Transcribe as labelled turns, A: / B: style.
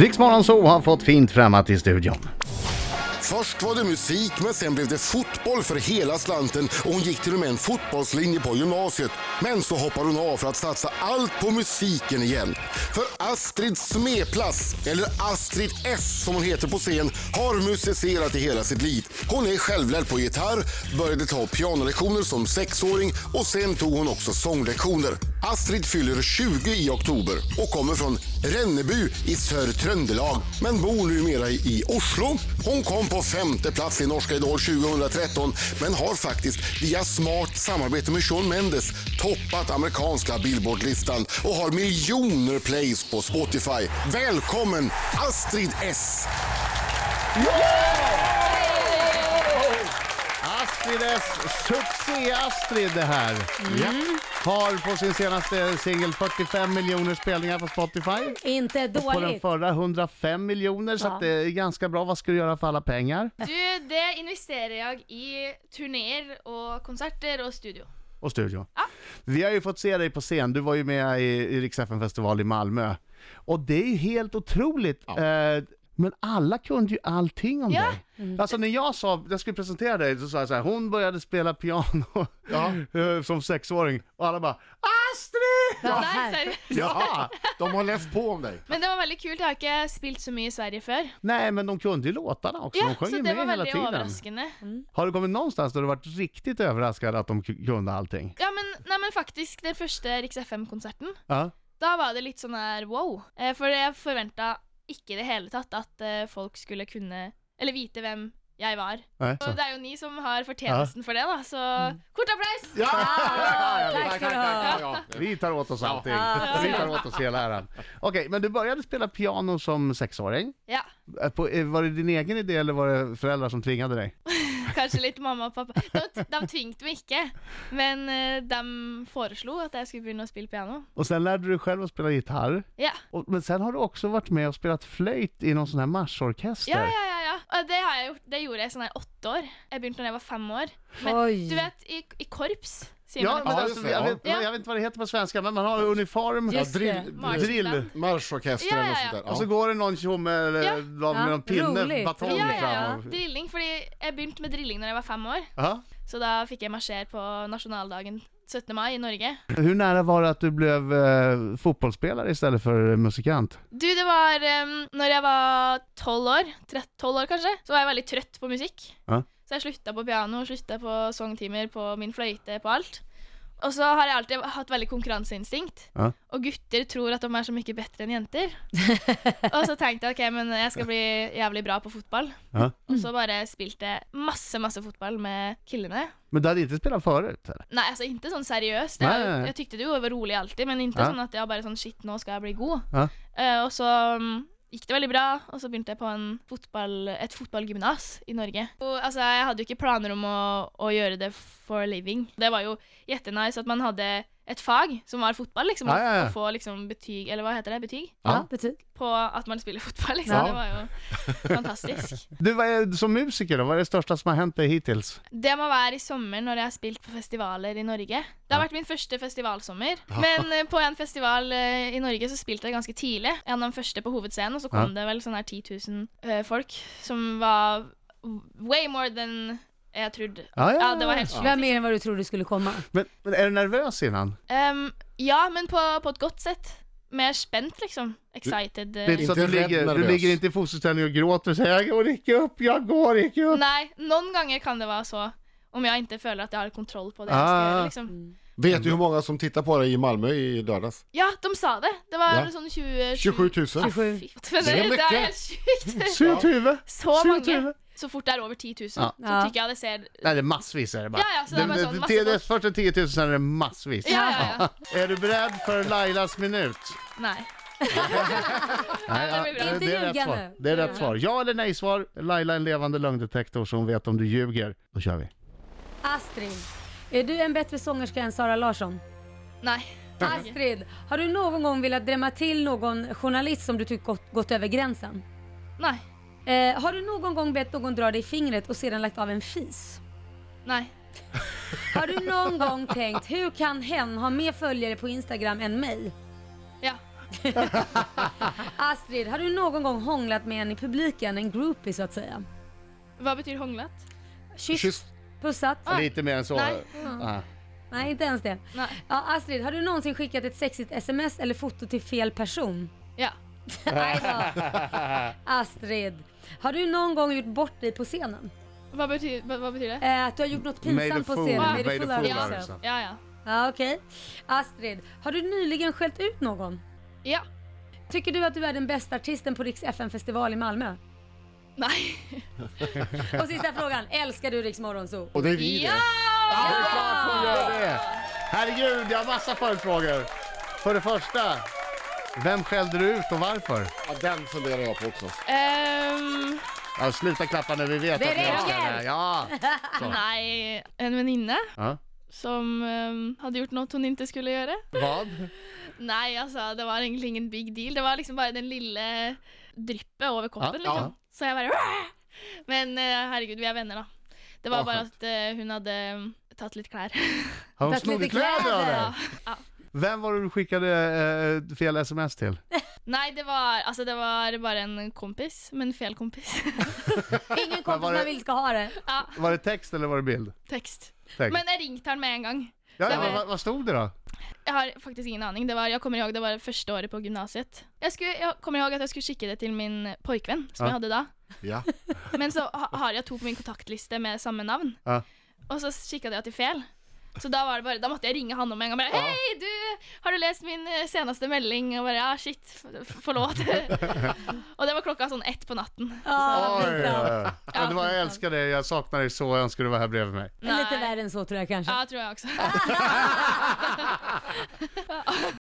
A: Riksmorgon så har fått fint främmat i studion.
B: Först var det musik, men sen blev det fotboll för hela slanten och hon gick till och med en fotbollslinje på gymnasiet. Men så hoppade hon av för att satsa allt på musiken igen. För Astrid Smeplass, eller Astrid S som hon heter på scen, har musicerat i hela sitt liv. Hon är självlärd på gitarr, började ta pianolektioner som sexåring och sen tog hon också sånglektioner. Astrid fyller 20 i oktober och kommer från Renneby i Sörtröndelag men bor numera i Oslo. Hon kom på femte plats i Norska Idol 2013 men har faktiskt via smart samarbete med Shawn Mendes toppat amerikanska Billboardlistan och har miljoner plays på Spotify. Välkommen Astrid S!
A: Astrid S, succé-Astrid det här. Har på sin senaste singel 45 miljoner spelningar på Spotify.
C: Inte
A: På den
C: dåligt.
A: förra 105 miljoner, så
C: Ja.
A: att det är ganska bra. Vad ska du göra för alla pengar?
D: Du, det investerer jeg i turnéer og konserter og studio.
A: Och studion. Vi har ju fått se dig på scen. Du var ju med i, i Rix FM festival i Malmö. Och det är ju helt otroligt. Eh, men alla kunde ju allting om
D: Ja. Mm.
A: dig. Alltså när jag sa, jag skulle presentera dig, så sa jag så här, hon började spela piano eh, som sexåring. Och alla bara Astrid!
C: Ja,
D: Nei,
C: här.
D: seriøst.
A: Ja!
E: De har läst på om dig.
D: Men det var veldig kult. Jeg har ikke spilt så mye i Sverige før.
A: Nej men de kunde ju låtarna också,
D: Ja,
A: de sjöng ju
D: Så det var
A: med hela
D: veldig
A: tiden.
D: overraskende.
A: Har du kommit någonstans där du varit riktigt överraskad att de k- kunde allting?
D: Ja, men, nei, men faktisk, den første Riks FM-konserten,
A: Ja.
D: da var det litt sånn her wow. Eh, For jeg forventa ikke i det hele tatt at eh, folk skulle kunne Eller vite hvem jeg var.
A: Nej, så.
D: Og det er jo ni som har fortjenesten for det, da, så kort applaus!
E: Ja!
C: Ja, tack ska du ha.
E: ja, ja.
A: Vi tar åt oss allting.
C: Ja.
A: Vi tar åt oss hela äran. Okej, men du började spela piano som sexåring.
D: Ja.
A: Eh, På, eh, var det din egen idé eller var det föräldrar som tvingade dig?
D: Kanskje litt mamma og pappa. De, de tvingte meg ikke, men eh, de foreslo at jeg skulle begynne å spille piano.
A: Och sen lärde du dig själv att spela gitarr.
D: Ja,
A: Och, men sen har du också varit med och spelat flöjt i någon sån här marschorkester.
D: ja, ja. ja, ja. Og det, har jeg gjort, det gjorde jeg sånn her åtte år. Jeg begynte da jeg var fem år. Men
C: Oj.
D: du vet, i, i korps sier
A: Ja, men
D: man
E: Ja,
D: det.
A: alltså,
E: just det,
A: jag,
E: ja.
A: vet, jag vet inte vad det heter på svenska, men man har uniform,
C: Just det.
E: drill-
D: March.
A: drill,
E: Marschorkester
D: Ja, ja,
E: eller
D: ja.
E: sånt där.
A: och så går det någon tjomme eller
D: Ja.
A: någon med
C: Ja,
A: någon pinne,
C: roligt.
A: batong
D: Ja, ja, ja.
A: fram. och-
D: Drilling. Fordi jeg begynte med drilling når jeg var fem år.
A: Ja.
D: Så da fikk jeg marsjere på nasjonaldagen 17. mai i Norge.
A: Hur nära var det att du blev eh, fotbollsspelare istället för eh, musikant?
D: Du, det var um, Når jeg var tolv år, trett, 12 år kanskje, så var jeg veldig trøtt på musikk.
A: Ja.
D: Så jeg slutta på piano, slutta på sangtimer, på min fløyte, på alt. Og så har jeg alltid hatt veldig konkurranseinstinkt.
A: Ja.
D: Og gutter tror at de er så mye bedre enn jenter. og så tenkte jeg ok, men jeg skal bli jævlig bra på fotball.
A: Ja.
D: Og så bare spilte jeg masse, masse fotball med killene.
A: Men du hade inte spelat förut? Eller?
D: Nei, altså ikke sånn seriøst.
A: Nei,
D: Jeg,
A: nei, nei.
D: jeg tykte det jo var rolig alltid, men ikke
A: Ja.
D: sånn at jeg bare sånn Shit, nå skal jeg bli god.
A: Ja.
D: Eh, og så mm, gikk det veldig bra, og så begynte jeg på en fotball, et fotballgymnas i Norge. alltså, Og, altså, jeg hadde jo ikke planer om å, å gjøre det for a living. Det var jo jettenice at man hadde et fag som var fotball, liksom.
A: Ja, ja, ja.
D: Å få liksom betyg, eller hva heter det, betyg?
C: Ja, betyg.
D: På at man spiller fotball, liksom.
A: Ja.
D: Det var jo fantastisk.
A: Du, vad är, som musiker då, vad är det största som har hänt dig hittills?
D: Det må være i sommer når jeg har spilt på festivaler i Norge. Det har vært min første festivalsommer. Men eh, på en festival eh, i Norge så spilte jeg ganske tidlig. En av de første på hovedscenen, og så kom det vel sånn her 10 000 eh, folk som var way more than jeg trodde.
A: Ja, ja,
D: Ja, det var helt
C: Det var
D: sjukt.
C: mer än vad du trodde skulle komma.
A: Men, men är du nervøs innan?
D: Ehm, ja, men på, på et godt sett. Mer spent, liksom. Excited.
A: Det
D: eh.
A: är inte så att du,
E: Inte rädd
A: ligger, du
E: nervös.
A: ligger inte i fosterställning och gråter och säger jag går inte upp, jag går inte upp.
D: Nei, noen ganger kan det være så. Om jeg ikke føler at jeg har kontroll på det jeg skal
A: Ah.
D: gjøre, liksom.
E: Vet du hur många som tittar på dig i Malmö i lördags?
D: Ja, de sa det. Det var
E: Ja.
D: sånn 20,
E: 27 000.
D: Fy,
C: 27.
D: Men det,
E: Det är
D: det
E: mycket.
D: er helt sjukt.
A: Surt huvud!
D: Så
A: Surt
D: mange.
A: huvud!
D: Så fort det er over 10 000,
A: Ja.
C: Ja.
D: så tykker jeg det ser
A: Nej, det är massvis är det bara.
D: Ja, ja, så det är bara
A: det,
D: så,
A: det,
D: massor
A: det, det,
D: folk.
A: först är 10 000, sen är det massvis.
D: Ja, ja, ja.
A: Är du beredd för Lailas minut?
D: Nei.
A: Nej,
D: det blir bra.
C: Inte
A: är rätt
C: ljuga
A: svar.
C: nu.
A: Det är rätt svar. Ja eller nej svar. Laila är en levande lögndetektor så hon vet om du ljuger. Då kör vi.
C: Astrid, är du en bättre sångerska än Sara Larsson?
D: Nei.
C: Astrid, har du någon gång velat drämma till någon journalist som du tyckt gått, gått över gränsen?
D: Nei.
C: Eh, har du någon gång bett någon dra dig i fingret och sedan lagt av en fis?
D: Nei.
C: Har du någon gång tänkt, hur kan hen ha mer följare på Instagram än mig?
D: Ja.
C: Astrid, har du någon gång hånglat med en i publiken, en groupie så att säga?
D: Vad betyder hånglat?
C: Kysst,
E: Kyss.
C: pussat?
A: Lite mer än så.
D: Nej.
A: Ah.
C: Nej, inte ens det.
D: Nej.
C: Ja, Astrid, har du någonsin skickat ett sexigt sms eller foto till fel person?
D: Ja.
C: Nej då. Astrid, har du någon gång gjort bort dig på scenen?
D: Vad betyder, vad, vad betyder det?
C: Eh, att du har gjort något
A: Made a
C: pinsamt på
A: fool-
C: scenen?
D: made
A: a
C: Made a
A: fool alltså.
C: fool
A: of
C: of
A: herself.
C: yourself.
D: Ja, ja.
C: Ja, okej. Astrid, har du nyligen skällt ut någon?
D: Ja.
C: Tycker du att du är den bästa artisten på Riks FN-festival i Malmö?
D: Nej.
C: Och sista frågan, älskar du Riks Morgonzoo?
E: Och det är vi
D: Ja!
E: det.
A: Ja, det är klart hon gör det! Herregud, jag har massa följdfrågor. För det första, vem skällde du ut och varför?
E: Ja, den funderar jag på också.
D: Ehm,
A: Ja, sluta klappa när vi vet
C: Det
A: att ni
C: räcker.
A: har henne. Ja.
D: nej, en väninna
A: ja.
D: som ehm, hade gjort något hon inte skulle göra.
A: Vad?
D: Nej, alltså det var egentligen ingen big deal. Det var liksom bara den lilla dryppet över koppen
A: Ja,
D: liksom.
A: ja.
D: Så jag bara "Åh!" Men eh, herregud, vi är vänner då. Det var
E: Ja,
D: bara
E: skönt.
D: att eh, hon hade mm, tagit lite kläder.
A: Har hon
C: Fast lite
A: snott kläder av
C: kläder.
A: dig?
D: Ja. Ja.
A: Vem var det du skickade eh, fel sms till?
D: Nej, det var, alltså, det var bara en kompis, men fel kompis.
C: Ingen kompis
A: var det-
C: man vill ska ha det.
D: ja,
A: Var det text eller var det bild?
D: text.
A: Text.
D: Men jag ringte han med en gång.
A: ja,
D: det
A: ja,
D: var-
A: vad, vad stod det då?
D: Jag har faktiskt ingen aning. Det var, jag kommer ihåg det var första året på gymnasiet. Jag, skulle, jag kommer ihåg att jag skulle skicka det till min pojkvän som
A: Ja.
D: jag hade då.
E: Ja.
D: Men så ha, har jag två på min kontaktlista med samma namn.
A: Ja.
D: Och så skickade jag till fel. Så då var det bara, då måste jag ringa honom en gång och bara Hej du! Har du läst min eh, senaste melding? Och bara ja ah, shit, f- f- förlåt. och det var klockan sån ett på natten.
C: Ja,
A: Oj,
C: pinsamt.
A: ja, ja. Men det var jag älskar dig, jag saknar dig så, jag önskar du var här bredvid mig.
C: Men Lite
D: Nej.
C: värre än så tror jag kanske.
D: Ja, tror jag också.